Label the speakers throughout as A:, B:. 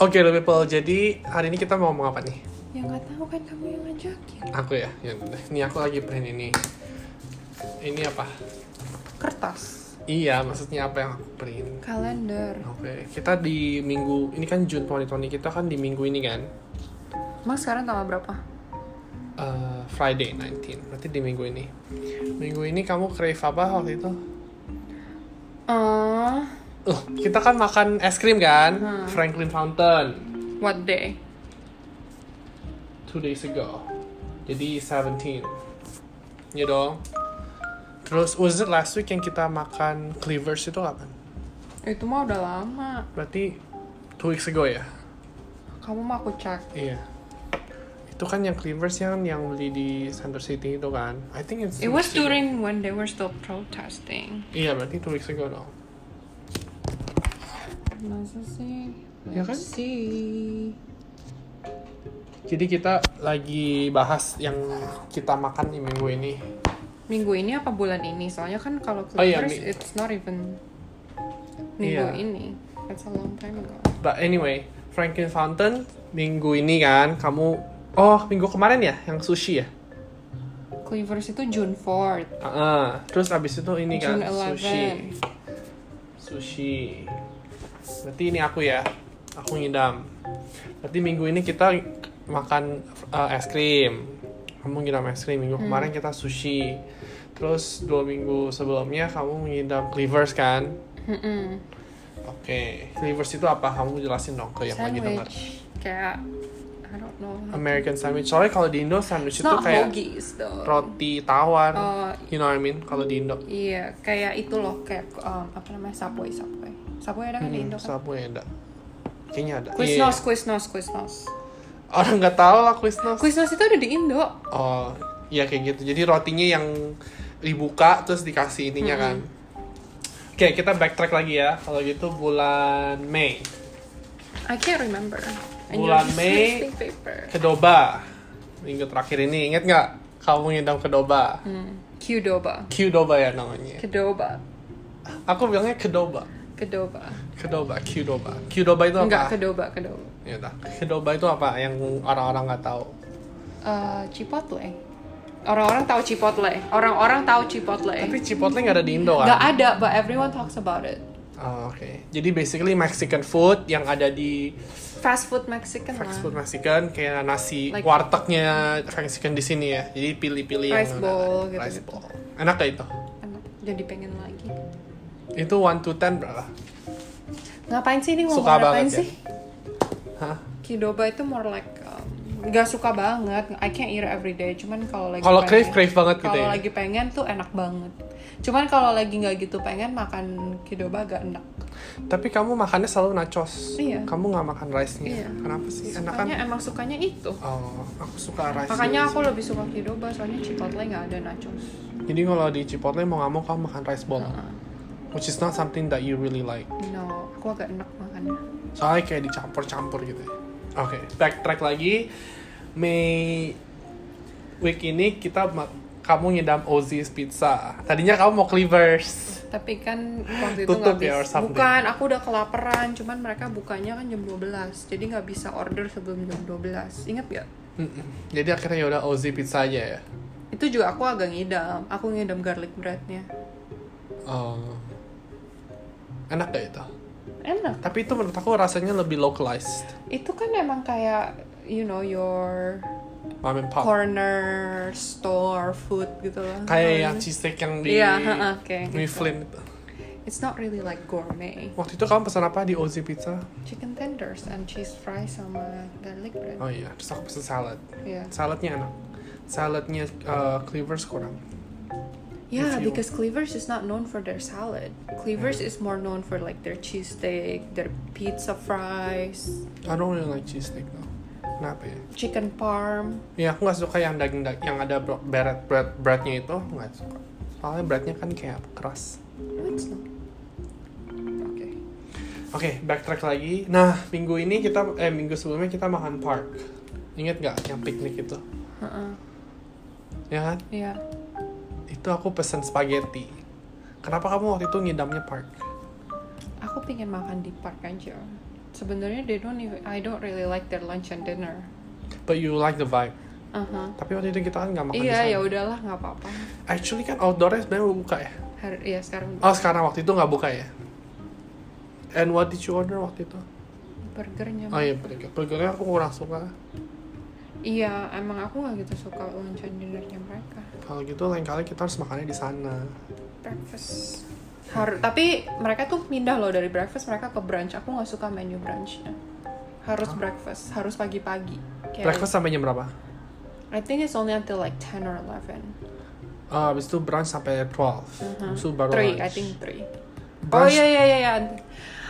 A: Oke, okay, people. Jadi hari ini kita mau ngomong apa nih?
B: Ya nggak tahu kan kamu yang ngajakin.
A: Aku ya. ya udah. Ini aku lagi print ini. Ini apa?
B: Kertas,
A: Iya, maksudnya apa yang aku print?
B: kalender.
A: Oke, kita di minggu ini kan June 2020 kita kan di minggu ini kan
B: Mas sekarang tanggal berapa?
A: eh, Friday 19. Berarti di minggu ini. Minggu ini kamu crave apa waktu itu?
B: Uh,
A: Loh, kita kan makan es krim kan? Franklin Fountain
B: what day?
A: two days ago. Jadi 17. Ya dong. Terus was it last week yang kita makan cleavers itu kapan?
B: Itu mah udah lama.
A: Berarti two weeks ago ya?
B: Kamu mau aku cek?
A: Iya. Itu kan yang cleavers yang yang beli di Center City itu kan. I think it's
B: It was
A: two weeks ago.
B: during when they were still protesting.
A: Iya, berarti two weeks ago dong.
B: Masa sih?
A: Ya kan?
B: See.
A: Jadi kita lagi bahas yang kita makan di minggu ini.
B: Minggu ini apa bulan ini? Soalnya kan kalau
A: Oh, iya,
B: Clippers,
A: mi-
B: it's not even minggu
A: Iya.
B: ini. It's a long time ago.
A: But anyway, Franklin Fountain minggu ini kan kamu Oh, minggu kemarin ya yang sushi ya?
B: Clippers itu June 4th.
A: Ah, terus abis itu ini kan
B: June 11.
A: sushi. Sushi. Berarti ini aku ya. Aku ngidam. Berarti minggu ini kita makan uh, es krim. Kamu ngidam es krim.
B: Hmm.
A: Minggu kemarin kita sushi. Terus dua minggu sebelumnya kamu ngidam cleavers kan?
B: Mm-mm.
A: Oke. Cleavers itu apa? Kamu jelasin dong ke yang lagi dengar.
B: Sandwich. Kayak, I don't know.
A: American sandwich. Soalnya kalau di Indo sandwich
B: It's
A: itu
B: not
A: kayak
B: hoagies though.
A: roti tawar.
B: Oh,
A: You know what I mean? Kalau di Indo.
B: Iya, kayak itu loh, kayak um, apa namanya Subway, Subway. Subway ada kan di
A: Hmm,
B: Indo kan?
A: sapu ya ada. Kayaknya ada. Iya.
B: Quiznos, Quiznos, Quiznos.
A: Orang nggak tahu lah Quiznos.
B: Quiznos itu ada di Indo.
A: Oh, ya kayak gitu. Jadi rotinya yang dibuka terus dikasih ininya
B: Hmm.
A: kan. Oke, kita backtrack lagi ya. Kalau gitu bulan Mei,
B: I can't remember.
A: Bulan
B: you're just
A: Mei.
B: wasting paper.
A: Kedoba. Minggu terakhir ini inget nggak? Kamu ngidam Kedoba.
B: Hmm. Qdoba.
A: Qdoba ya namanya.
B: Kedoba.
A: Aku bilangnya Kedoba.
B: Kedoba.
A: Kedoba, Qdoba. Qdoba itu apa?
B: Enggak, Kedoba, Kedoba.
A: Ya udah. Kedoba itu apa yang orang-orang nggak tahu?
B: Eh, Chipotle. Orang-orang tahu Chipotle. Orang-orang tahu Chipotle.
A: Tapi Chipotle nggak ada di Indo kan?
B: Eh, Nggak ada, but everyone talks about it.
A: Oh, Oke. Jadi basically Mexican food yang ada di
B: Fast food Mexican lah.
A: fast food Mexikan kayak nasi
B: Nah. Like-
A: wartegnya Mexican di sini ya. Jadi pilih-pilih
B: Rice bowl gitu.
A: ada. rice
B: gitu-gitu.
A: bowl. Enak gak itu?
B: Enak. Jadi pengen lagi.
A: Itu 1 to 10 berapa?
B: Ngapain sih ini ngomong
A: Suka
B: ngapain
A: banget ya.
B: sih?
A: Hah?
B: Kidoba itu more like um, nggak suka banget. I can't eat every day. Cuman kalau lagi
A: Kalau
B: pengen-
A: crave crave banget gitu
B: kalau
A: ya.
B: lagi pengen tuh enak banget. Cuman kalau lagi nggak gitu pengen makan kidoba agak enak.
A: Tapi kamu makannya selalu nachos.
B: Iya.
A: Kamu nggak makan rice-nya.
B: Iya.
A: Kenapa sih? Enak kan?
B: Makanya emang sukanya itu.
A: Oh, aku suka rice.
B: Makanya aku lebih suka kidoba soalnya chipotle nggak ada nachos.
A: Jadi kalau di Chipotle mau nggak mau kamu makan rice bowl,
B: Heeh.
A: which is not something that you really like.
B: No, aku agak enak makannya.
A: soalnya kayak dicampur-campur gitu ya. Oke, backtrack lagi. Mei week ini kita ma- kamu ngidam Ozzy's Pizza. Tadinya kamu mau Cleavers.
B: Tapi kan waktu itu
A: Tutup
B: nggak
A: ya, or
B: bisa.
A: something.
B: Bukan, aku udah kelaparan. Cuman mereka bukanya kan jam 12. Jadi nggak bisa order sebelum jam 12. Ingat nggak?
A: Mm-mm. Jadi akhirnya yaudah Ozzy Pizza aja ya.
B: Itu juga aku agak ngidam. Aku ngidam garlic breadnya.
A: Oh. Enak gak itu?
B: Enak.
A: Tapi itu menurut aku rasanya lebih localized.
B: Itu kan emang kayak you know your
A: Mom and pop.
B: corner store food gitu lah.
A: Kayak yang cheesesteak yang di
B: Iya, heeh, kayak gitu.
A: Mifflin itu.
B: It's not really like gourmet.
A: Waktu itu kamu pesan apa di Ozzy Pizza?
B: Chicken tenders and cheese fries sama garlic bread.
A: Oh iya, terus aku pesan salad.
B: Yeah.
A: Saladnya enak. Saladnya uh, Cleavers kurang.
B: Yeah,
A: If you- Mm.
B: because Cleavers is not known for their salad. Cleavers is more known for like their cheesesteak, their pizza fries,
A: I don't really like cheesesteak though. Kenapa ya?
B: chicken parm.
A: Ya aku nggak suka yang daging dag yang ada bro- beret bread breadnya itu nggak suka. Soalnya breadnya kan kayak keras.
B: No, it's not. Okay.
A: Oke, backtrack lagi. Nah minggu ini kita eh minggu sebelumnya kita makan park. Ingat nggak yang piknik itu?
B: Uh-uh.
A: Ya kan?
B: Yeah.
A: Itu aku pesen spaghetti. Kenapa kamu waktu itu ngidamnya park?
B: Aku pengen makan di park aja. It's Sebenarnya they don't even, I don't really like their lunch and dinner.
A: But you like the vibe.
B: Uh-huh.
A: Tapi waktu itu kita kan nggak makan
B: Iya
A: di
B: ya
A: sana.
B: udahlah nggak apa-apa.
A: Actually kan outdoornya sebenarnya udah buka ya.
B: Hari ya sekarang
A: Oh sekarang waktu itu nggak buka ya. And what did you order waktu itu?
B: burgernya.
A: Oh iya burger. Burgernya aku kurang suka.
B: Iya emang aku nggak gitu suka lunch and dinnernya mereka.
A: Kalau gitu lain kali kita harus makannya di sana.
B: Breakfast. Har tapi mereka tuh pindah loh dari breakfast mereka ke brunch. Aku nggak suka menu brunchnya. Harus breakfast, harus pagi-pagi. Kayak-
A: Breakfast sampai jam berapa?
B: I think it's only until like 10 or 11.
A: Ah, habis itu brunch sampai 12. Habis itu baru
B: Uh-huh. Three,
A: lunch.
B: I think three. Oh
A: Brunch-
B: iya iya iya. iya.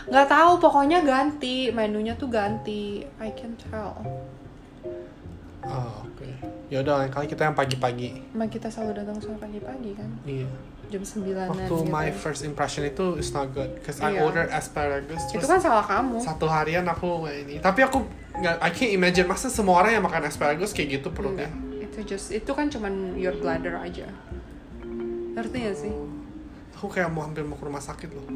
B: Nggak tahu, pokoknya ganti menunya tuh ganti. I can tell.
A: Ah, oke. Ya udah lain kali kita yang pagi-pagi.
B: Emang kita selalu datang sore pagi-pagi kan,
A: Iya.
B: jam gitu. 9
A: Waktu my first impression itu is not good cause I
B: Iya.
A: order asparagus
B: Itu
A: terus
B: kan salah kamu.
A: satu harian aku ini. Tapi aku nggak I can't imagine masa semua orang yang makan asparagus kayak gitu perutnya.
B: Enggak. Itu just itu kan cuman your bladder aja. Ngerti gak Iya sih?
A: Aku kayak mau hampir mau ke rumah sakit loh.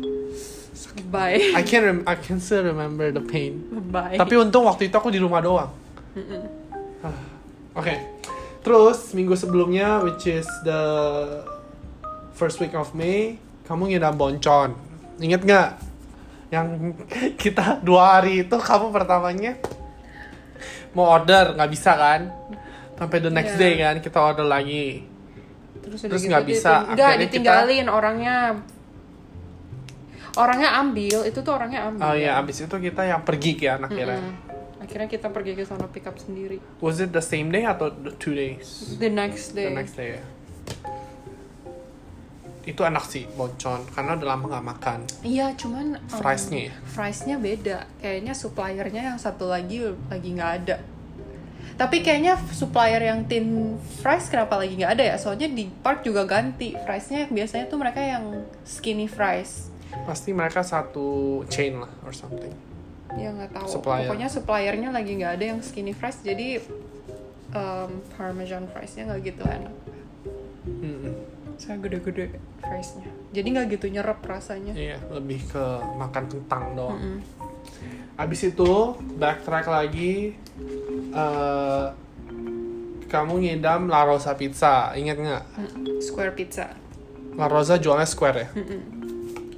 B: Bye.
A: I can rem- I can still remember the pain.
B: Bye.
A: Tapi untung waktu itu aku di rumah doang. Ah, Oke. Terus minggu sebelumnya which is the first week of May, kamu ngidam boncon. Ingat nggak? Yang kita dua hari itu kamu pertamanya mau order nggak bisa kan? Sampai the next
B: Iya.
A: day kan kita order lagi.
B: terus gitu
A: Terus nggak bisa.
B: Enggak,
A: Akhirnya kita-
B: ditinggalin orangnya. Orangnya ambil, itu tuh orangnya ambil.
A: Oh iya, abis itu kita yang pergi kan akhirnya.
B: Mm-hmm. Mm-mm. Akhirnya kita pergi ke sana pick up sendiri.
A: Was it the same day atau the two days?
B: The next day.
A: The next day ya. Itu enak sih boncon karena udah lama nggak makan.
B: Iya, cuman um,
A: Friesnya ya?
B: friesnya beda. Kayaknya suppliernya yang satu lagi lagi nggak ada. Tapi kayaknya supplier yang tin fries kenapa lagi nggak ada ya? Soalnya di park juga ganti friesnya. Biasanya tuh mereka yang skinny fries.
A: Pasti mereka satu chain lah or something.
B: Ya nggak tahu.
A: Supplier.
B: Pokoknya suppliernya lagi nggak ada yang skinny fries. Jadi um, parmesan friesnya nggak gitu enak.
A: Mm-mm.
B: Saya gede-gede friesnya. Jadi nggak gitu nyerap rasanya.
A: Iya, lebih ke makan kentang doang.
B: Mm-mm.
A: Abis itu backtrack lagi. eh, kamu ngidam La Rosa Pizza, ingat nggak?
B: Square pizza.
A: La Rosa jualnya square ya.
B: Mm-mm.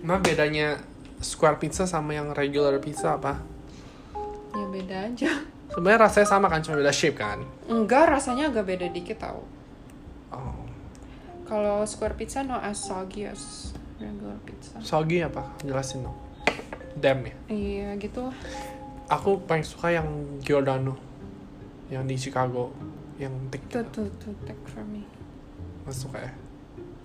A: Emang bedanya square pizza sama yang regular pizza apa?
B: Ya beda aja.
A: Sebenarnya rasanya sama kan, cuma beda shape kan.
B: Enggak, rasanya agak beda dikit tau.
A: Oh.
B: Kalau square pizza no as soggy as regular pizza.
A: Soggy apa? Jelasin dong. Damn ya.
B: Iya gitu. lah.
A: Aku paling suka yang Giordano. Yang di Chicago. Yang thick.
B: Tuh tuh tuh take for me.
A: Mas suka ya.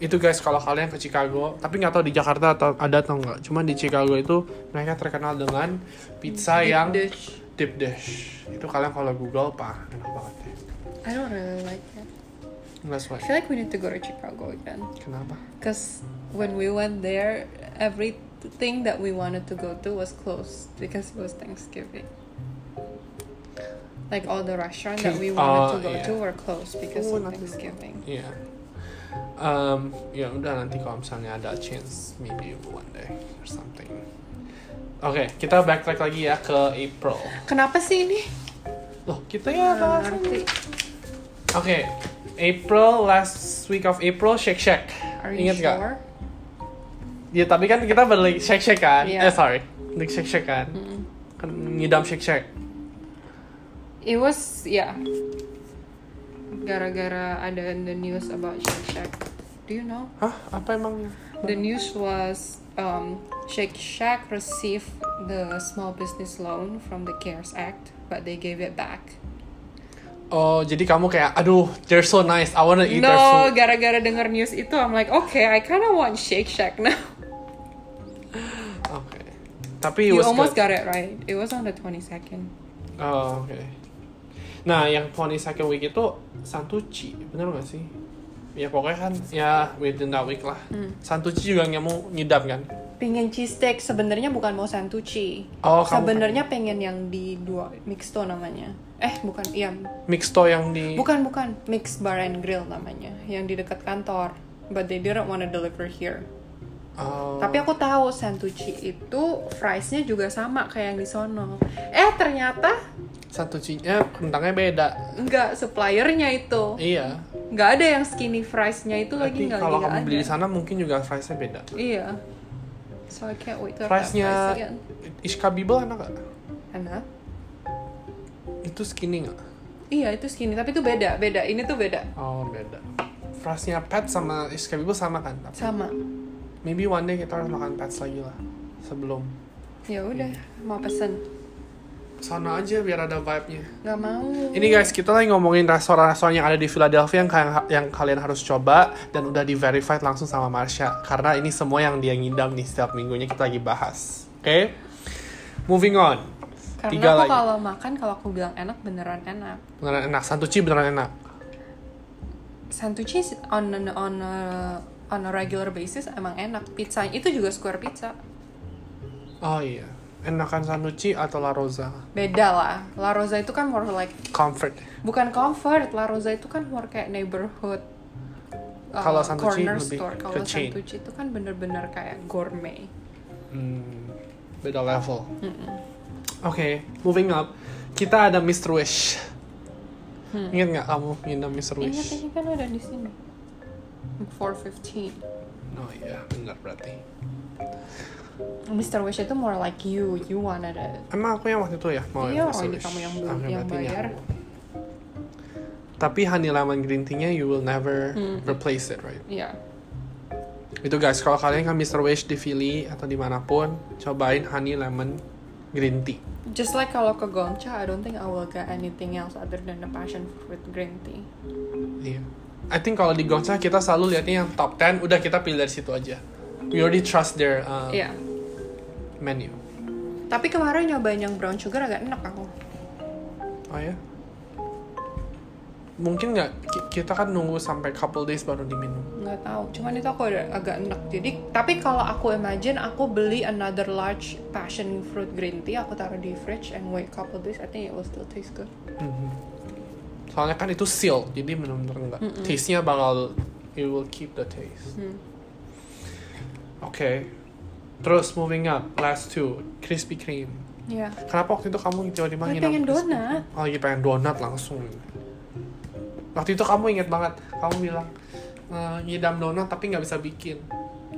A: Itu guys kalau kalian ke Chicago, tapi nggak tahu di Jakarta atau ada atau nggak. Cuman di Chicago itu mereka terkenal dengan pizza
B: Deep
A: yang
B: dish.
A: deep dish. Itu kalian kalau Google pak enak banget ya.
B: I don't really like it.
A: Nggak
B: I
A: suka.
B: feel like we need to go to Chicago again.
A: Kenapa?
B: Cause when we went there, everything that we wanted to go to was closed because it was Thanksgiving. Like all the restaurants that we wanted to
A: Oh,
B: go
A: yeah.
B: to were closed because
A: Oh,
B: of
A: nothing.
B: Thanksgiving.
A: Iya. Um, ya udah nanti kalau misalnya ada chance maybe one day or something. Oke, kita backtrack lagi ya ke April.
B: Kenapa sih ini?
A: Loh, kita ya
B: Nggak
A: bahas- Oke,
B: Iya, ngerti.
A: April last week of April Shake Shack.
B: Are you
A: Ingat nggak?
B: sure?
A: Ya, tapi kan kita beli Shake Shack kan.
B: Iya. Hmm.
A: Eh, sorry. Beli Shake Shack kan. Kan ngidam Shake Shack.
B: It was yeah. Gara-gara ada in the news about Shake Shack. Do you know?
A: Hah, apa emang?
B: The news was um, Shake Shack received the small business loan from the CARES Act, but they gave it back.
A: Oh, jadi kamu kayak aduh, they're so nice. I wanna eat their food.
B: no, gara-gara denger news itu, I'm like, okay, I kind of want Shake Shack now.
A: Oke. Tapi it
B: you
A: was
B: almost
A: good.
B: got it right. It was on the 22nd.
A: Oh, oke. Nah, yang Pony second week itu Santucci, bener gak sih? Ya pokoknya kan, ya within that week lah.
B: Hmm.
A: Santucci juga nggak mau ngidam kan?
B: Pengen cheesesteak sebenarnya bukan mau santucci.
A: Oh, kamu
B: sebenarnya pengen yang di dua mixto namanya. Eh, bukan, iya,
A: Mixto yang di...
B: Bukan bukan Mix Bar and Grill namanya yang di dekat kantor. But they didn't wanna deliver here.
A: Oh, Oh.
B: Tapi aku tahu Santucci itu friesnya juga sama kayak yang di sono. Eh ternyata
A: satu cinya eh, kentangnya beda.
B: nggak suppliernya itu.
A: Iya.
B: Nggak ada yang skinny friesnya Oh, itu lagi
A: Tapi
B: nggak
A: kalau
B: lagi nggak
A: kamu beli di
B: ada.
A: sana mungkin juga friesnya beda.
B: Iya. So I can't wait to have that fries
A: Friesnya
B: again.
A: Ishka Bibel enak gak?
B: Enak.
A: Itu skinny gak?
B: Iya itu skinny tapi itu beda beda. Ini tuh beda.
A: Oh beda. Friesnya Pet sama Ishka Bibel sama kan? Tapi
B: Sama.
A: Maybe one day kita harus makan Pets lagi lah. Sebelum
B: Ya udah mau pesen.
A: sana aja biar ada vibe-nya.
B: Nggak mau.
A: Ini guys, kita lagi ngomongin restoran-restoran yang ada di Philadelphia yang, kalian- yang kalian harus coba dan udah di verified langsung sama Marsha karena ini semua yang dia ngidam nih setiap minggunya kita lagi bahas. Oke? Moving on.
B: Karena
A: tiga
B: aku
A: lagi.
B: kalau makan kalau aku bilang enak beneran enak.
A: Beneran enak, Santucci beneran enak.
B: Santucci on an- on a, on a regular basis emang enak. Pizza itu juga square pizza.
A: Oh iya. Enakan Santucci atau La Rosa?
B: Beda lah. La Rosa itu kan more like
A: Comfort.
B: bukan comfort. La Rosa itu kan more kayak neighborhood. uh,
A: Kalau Santucci
B: corner
A: lebih
B: store.
A: ke
B: Kalau
A: chain.
B: Santucci itu kan bener-bener kayak gourmet.
A: Hmm, beda level. Oke, moving up. Kita ada Mr. Wish. Ingat nggak kamu ngidam Mr. Wish?
B: Ingat ini kan udah di sini. 415.
A: Oh iya, benar berarti.
B: Mr. Wish itu more like you. You wanted it.
A: Emang aku yang waktu itu ya mau yang
B: Iya,
A: Mr.
B: ini
A: Wish?
B: kamu yang belum-
A: Oke,
B: yang
A: berarti ini
B: bayar.
A: aku. Tapi honey lemon green tea-nya you will never
B: Hmm,
A: replace it, right?
B: Iya.
A: Itu guys, kalau kalian kan Mr. Wish di Philly atau dimanapun, cobain honey lemon green tea.
B: Just like kalau ke Gongcha, I don't think I will get anything else other than the passion fruit green tea.
A: Iya. I think kalau di Gongcha kita selalu lihatnya yang top 10, udah kita pilih dari situ aja. We already trust their uh,
B: Iya.
A: menu.
B: Tapi kemarin nyobain yang brown sugar agak enak aku.
A: Oh ya? Mungkin nggak ki- kita kan nunggu sampai couple days baru diminum.
B: Nggak tahu. Cuman itu aku ada agak enak. Jadi, tapi kalau aku imagine aku beli another large passion fruit green tea, aku taruh di fridge and wait couple days, I think it will still taste good.
A: Mm-hmm. Soalnya kan itu seal, jadi benar-benar nggak. Taste-nya bakal it will keep the taste.
B: Hmm.
A: Oke. Terus moving up, last two, Krispy Kreme.
B: Iya.
A: Kenapa waktu itu kamu tiba-tiba
B: Tapi
A: nginep
B: pengen
A: Krispy Kreme?
B: donat.
A: Oh, lagi pengen donat langsung. Waktu itu kamu inget banget, kamu bilang e, ngidam donat tapi nggak bisa bikin.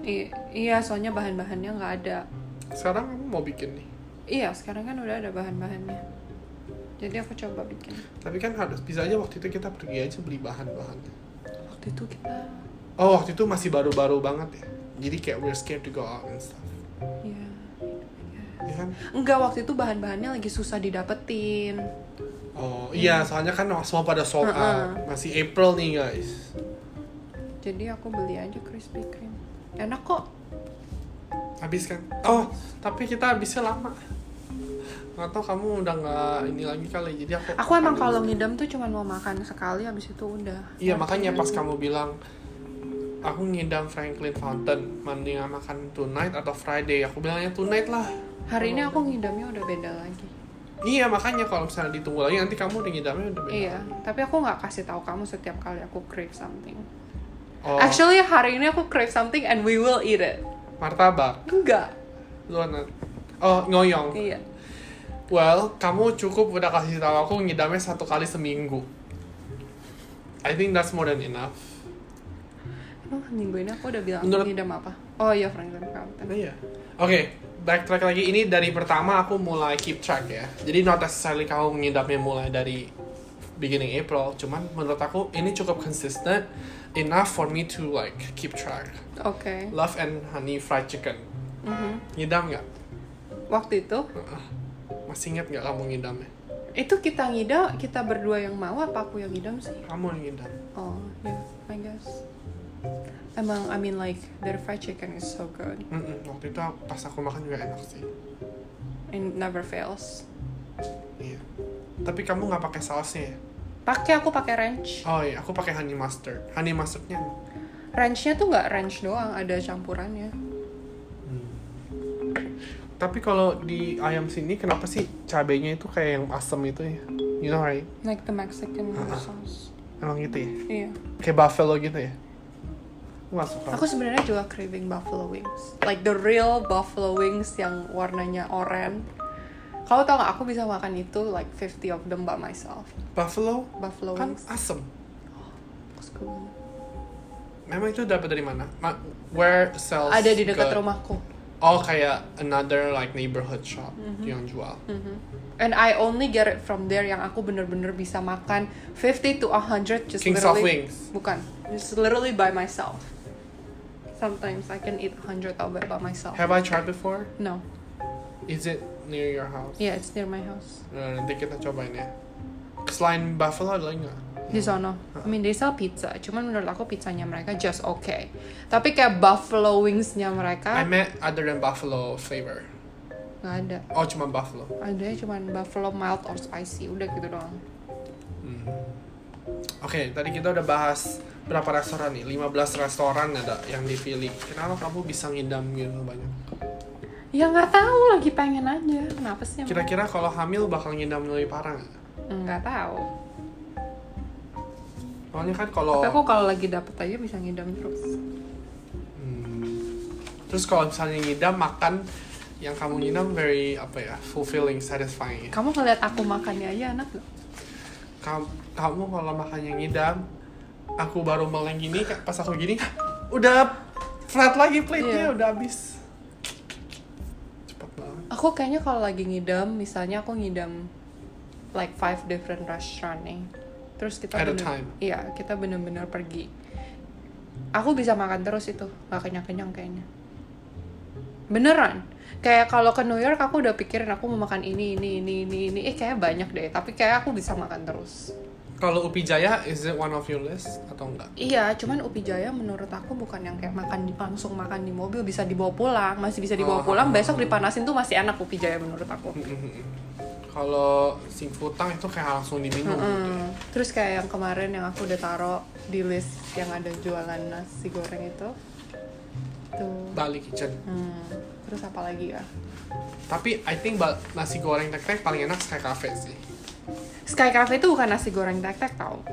B: I- iya, soalnya bahan-bahannya nggak ada.
A: Sekarang kamu mau bikin nih,
B: Iya, sekarang kan udah ada bahan-bahannya. Jadi aku coba bikin.
A: tapi kan harus bisa aja waktu itu kita pergi aja beli bahan-bahan.
B: Waktu itu kita,
A: Oh waktu itu masih baru-baru banget ya, jadi kayak we're scared to go out and stuff.
B: ya.
A: Ya kan?
B: Enggak, waktu itu bahan-bahannya lagi susah didapetin.
A: Oh iya, soalnya kan semua pada sold out.
B: Heeh.
A: Masih April nih guys.
B: Jadi aku beli aja Krispy Kreme. Enak kok.
A: Habis kan? Oh, tapi kita habisnya lama. Nggak tahu kamu udah nggak ini lagi kali, jadi aku.
B: Aku emang kalau ngidam tuh cuman mau makan sekali habis itu udah.
A: Iya makanya pas kamu bilang aku ngidam Franklin Fountain mendingan makan tonight atau Friday aku bilangnya tonight lah
B: Hari ini aku ngidamnya udah beda lagi.
A: iya makanya kalau misalnya ditunggu lagi nanti kamu udah ngidamnya udah beda
B: Iya, tapi aku nggak kasih tahu kamu setiap kali aku crave something.
A: oh
B: Actually hari ini aku crave something and we will eat it.
A: martabak
B: Enggak.
A: donat oh ngoyong
B: Iya.
A: well kamu cukup udah kasih tahu aku ngidamnya satu kali seminggu I think that's more than enough
B: Aduh, minggu ini aku udah bilang aku
A: Menurut-
B: ngidam apa. Oh iya Franklin Fountain.
A: Iya. Oke, backtrack lagi. Ini dari pertama aku mulai keep track ya. Jadi not necessarily kamu ngidamnya mulai dari beginning April. Cuman menurut aku ini cukup consistent enough for me to like keep track.
B: Oke.
A: Love and honey fried chicken.
B: Mhm.
A: Ngidam nggak?
B: Waktu itu
A: Heeh. Masih inget nggak kamu ngidamnya?
B: itu kita ngidam, kita berdua yang mau apa aku yang ngidam sih?
A: Kamu yang ngidam.
B: Oh, yeah, I guess. Emang, I mean like their fried chicken is so good.
A: Mm-mm, Waktu itu aku- pas aku makan juga enak sih.
B: It never fails.
A: Iya. Tapi kamu nggak pakai sausnya ya?
B: Pakai aku pakai ranch.
A: Oh iya, aku pakai honey mustard. Honey mustardnya enak.
B: Ranchnya tuh nggak ranch doang, ada campurannya.
A: Tapi kalau di ayam sini kenapa sih cabenya itu kayak yang asem itu ya? You know right?
B: Like the Mexican
A: Ah.
B: sauce.
A: Emang gitu ya?
B: Iya.
A: Kayak buffalo gitu ya? nggak suka
B: Aku sebenarnya juga craving buffalo wings. Like the real buffalo wings yang warnanya oranye. Kalau tau gak aku bisa makan itu like 50 of them by myself.
A: buffalo
B: Buffalo
A: kan
B: wings.
A: asem
B: Aku suka banget.
A: memang itu dapat dari mana Ma- where sells
B: Ada di dekat
A: good?
B: rumahku.
A: oh kayak another like neighborhood shop
B: Mm-hmm.
A: yang jual
B: And I only get it from there yang aku bener-bener bisa makan 50 to 100 just
A: Kings of
B: literally.
A: Wings.
B: Bukan. Just literally by myself. Sometimes I can eat 100 of it by myself.
A: have I tried before
B: No.
A: is it near your house
B: Yeah, it's near my house.
A: Nah, nanti kita cobain ya selain buffalo ada lagi nggak
B: Di
A: Hmm.
B: sono. I mean, they sell pizza. Cuman menurut aku pizzanya mereka just okay. Tapi kayak buffalo wingsnya
A: I
B: mereka
A: meant other than buffalo flavor
B: nggak ada.
A: oh cuma buffalo
B: Ada cuman buffalo mild or spicy. Udah gitu doang.
A: Hmm. Oke, tadi kita udah bahas berapa restoran nih? 15 restoran ada yang dipilih. Kenapa kamu bisa ngidam gitu banyak?
B: Ya nggak tahu lagi pengen aja. Kenapa sih? emang?
A: Kira-kira kalau hamil bakal ngidam lebih parah nggak?
B: Nggak tahu.
A: Soalnya kan kalau
B: Tapi aku kalau lagi dapet aja bisa ngidam terus.
A: Hmm. terus kalau misalnya ngidam makan yang kamu ngidam very apa ya fulfilling, satisfying. ya.
B: Kamu ngeliat aku makannya aja enak gak?
A: Kamu, kamu kalau makannya ngidam, aku baru meleng gini, pas aku gini, udah flat lagi plate-nya,
B: Iya.
A: udah habis. Cepat banget.
B: Aku kayaknya kalau lagi ngidam, misalnya aku ngidam like five different restaurant nih. Terus kita
A: At a
B: bener-
A: time.
B: Iya, kita bener-bener pergi. Aku bisa makan terus itu, gak kenyang-kenyang kayaknya. Beneran. Kayak kalau ke New York aku udah pikirin aku mau makan ini, ini, ini, ini, ini. Eh kayak banyak deh, tapi kayak aku bisa makan terus.
A: Kalau Upi Jaya, is it one of your list atau enggak?
B: Iya, cuman Upi Jaya menurut aku bukan yang kayak makan di- langsung makan di mobil bisa dibawa pulang, masih bisa
A: Oh.
B: dibawa pulang, besok dipanasin tuh masih enak Upi Jaya menurut aku.
A: Mm-hmm. Kalau singkutang itu kayak langsung diminum gitu ya.
B: Mm. Terus kayak yang kemarin yang aku udah taruh di list yang ada jualan nasi goreng itu. Tuh.
A: Bali Kitchen.
B: Hmm. Terus apa lagi ya?
A: Tapi I think ba- nasi goreng tek-tek paling enak Sky Cafe sih.
B: Sky Cafe itu bukan nasi goreng tek-tek tau.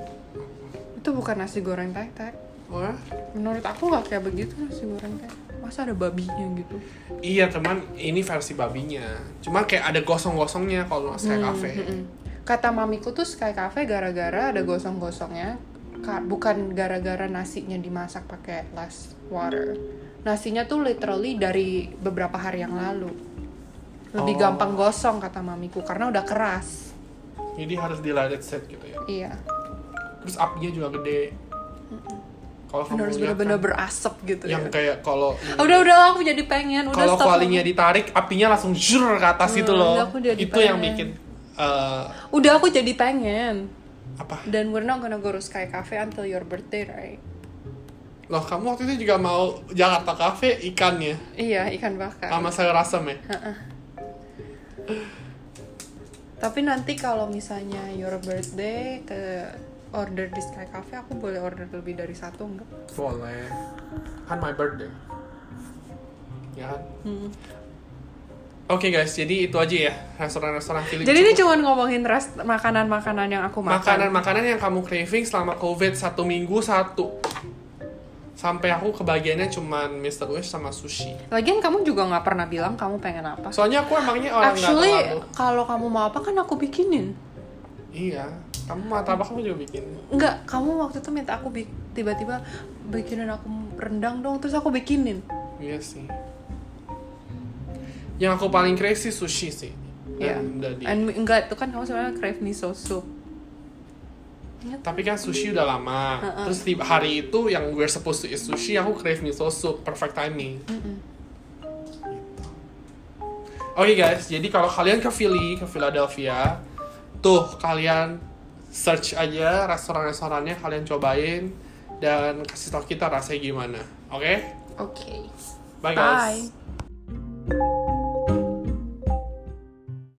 B: Itu bukan nasi goreng tek-tek.
A: Oh ya?
B: Menurut aku nggak kayak begitu nasi goreng tek. Masa ada babinya gitu?
A: Iya teman, ini versi babinya. Cuma kayak ada gosong-gosongnya kalau Sky Cafe.
B: Mm. Mm-mm. Kata mamiku tuh Sky Cafe gara-gara ada gosong-gosongnya, ka- bukan gara-gara nasinya dimasak pakai less water. Nasinya tuh literally dari beberapa hari yang lalu. Lebih
A: Oh.
B: gampang gosong kata mamiku karena udah keras.
A: Jadi harus di lighted set gitu ya.
B: Iya.
A: Terus apinya juga gede. Kalau kamu
B: Harus
A: lihat
B: bener-bener
A: kan,
B: berasap gitu
A: yang
B: ya.
A: kayak kalau
B: Ah, Udah udah aku jadi pengen, udah
A: kalau
B: stop.
A: kualinya ditarik, apinya langsung jrrr ke atas
B: Hmm,
A: gitu loh.
B: aku jadi
A: Itu yang
B: pengen.
A: bikin eh,
B: Udah aku jadi pengen.
A: apa?
B: Dan we're not gonna go to Sky Cafe until your birthday, right?
A: Loh, kamu waktu itu juga mau Jakarta Cafe ikannya
B: Iya, ikan bakar.
A: sama sayur asam ya?
B: Tapi nanti kalau misalnya your birthday ke order di Sky Cafe, aku boleh order lebih dari satu enggak?
A: Boleh. Kan my birthday. Ya kan?
B: Hmm.
A: Oke guys, jadi itu aja ya restoran-restoran Philip.
B: Jadi ini cuma ngomongin rest makanan-makanan yang aku makan.
A: makanan-makanan yang kamu craving selama COVID satu minggu satu. Sampai aku kebagiannya cuman Mr. Wish sama sushi.
B: Lagian kamu juga nggak pernah bilang kamu pengen apa.
A: Soalnya aku emangnya orang Oh, nggak
B: Actually,
A: terlalu.
B: kalau kamu mau apa kan aku bikinin.
A: Iya, kamu martabak kamu juga bikin.
B: Enggak, kamu waktu itu minta aku bi- tiba-tiba bikinin aku rendang dong, terus aku bikinin.
A: Iya sih. Yang aku paling crazy sushi sih.
B: Ya.
A: Dan udah di-
B: And enggak itu kan kamu sebenarnya crave miso soup. Ingat?
A: Tapi kan sushi udah lama.
B: Heeh.
A: Terus di hari itu yang we're supposed to eat sushi, aku crave miso soup. Perfect timing. Gitu. Oke guys, jadi kalau kalian ke Philly, ke Philadelphia, tuh kalian search aja restoran-restorannya kalian cobain dan kasih tau kita rasanya gimana. Oke?
B: Oke.
A: Bye guys.
B: Bye.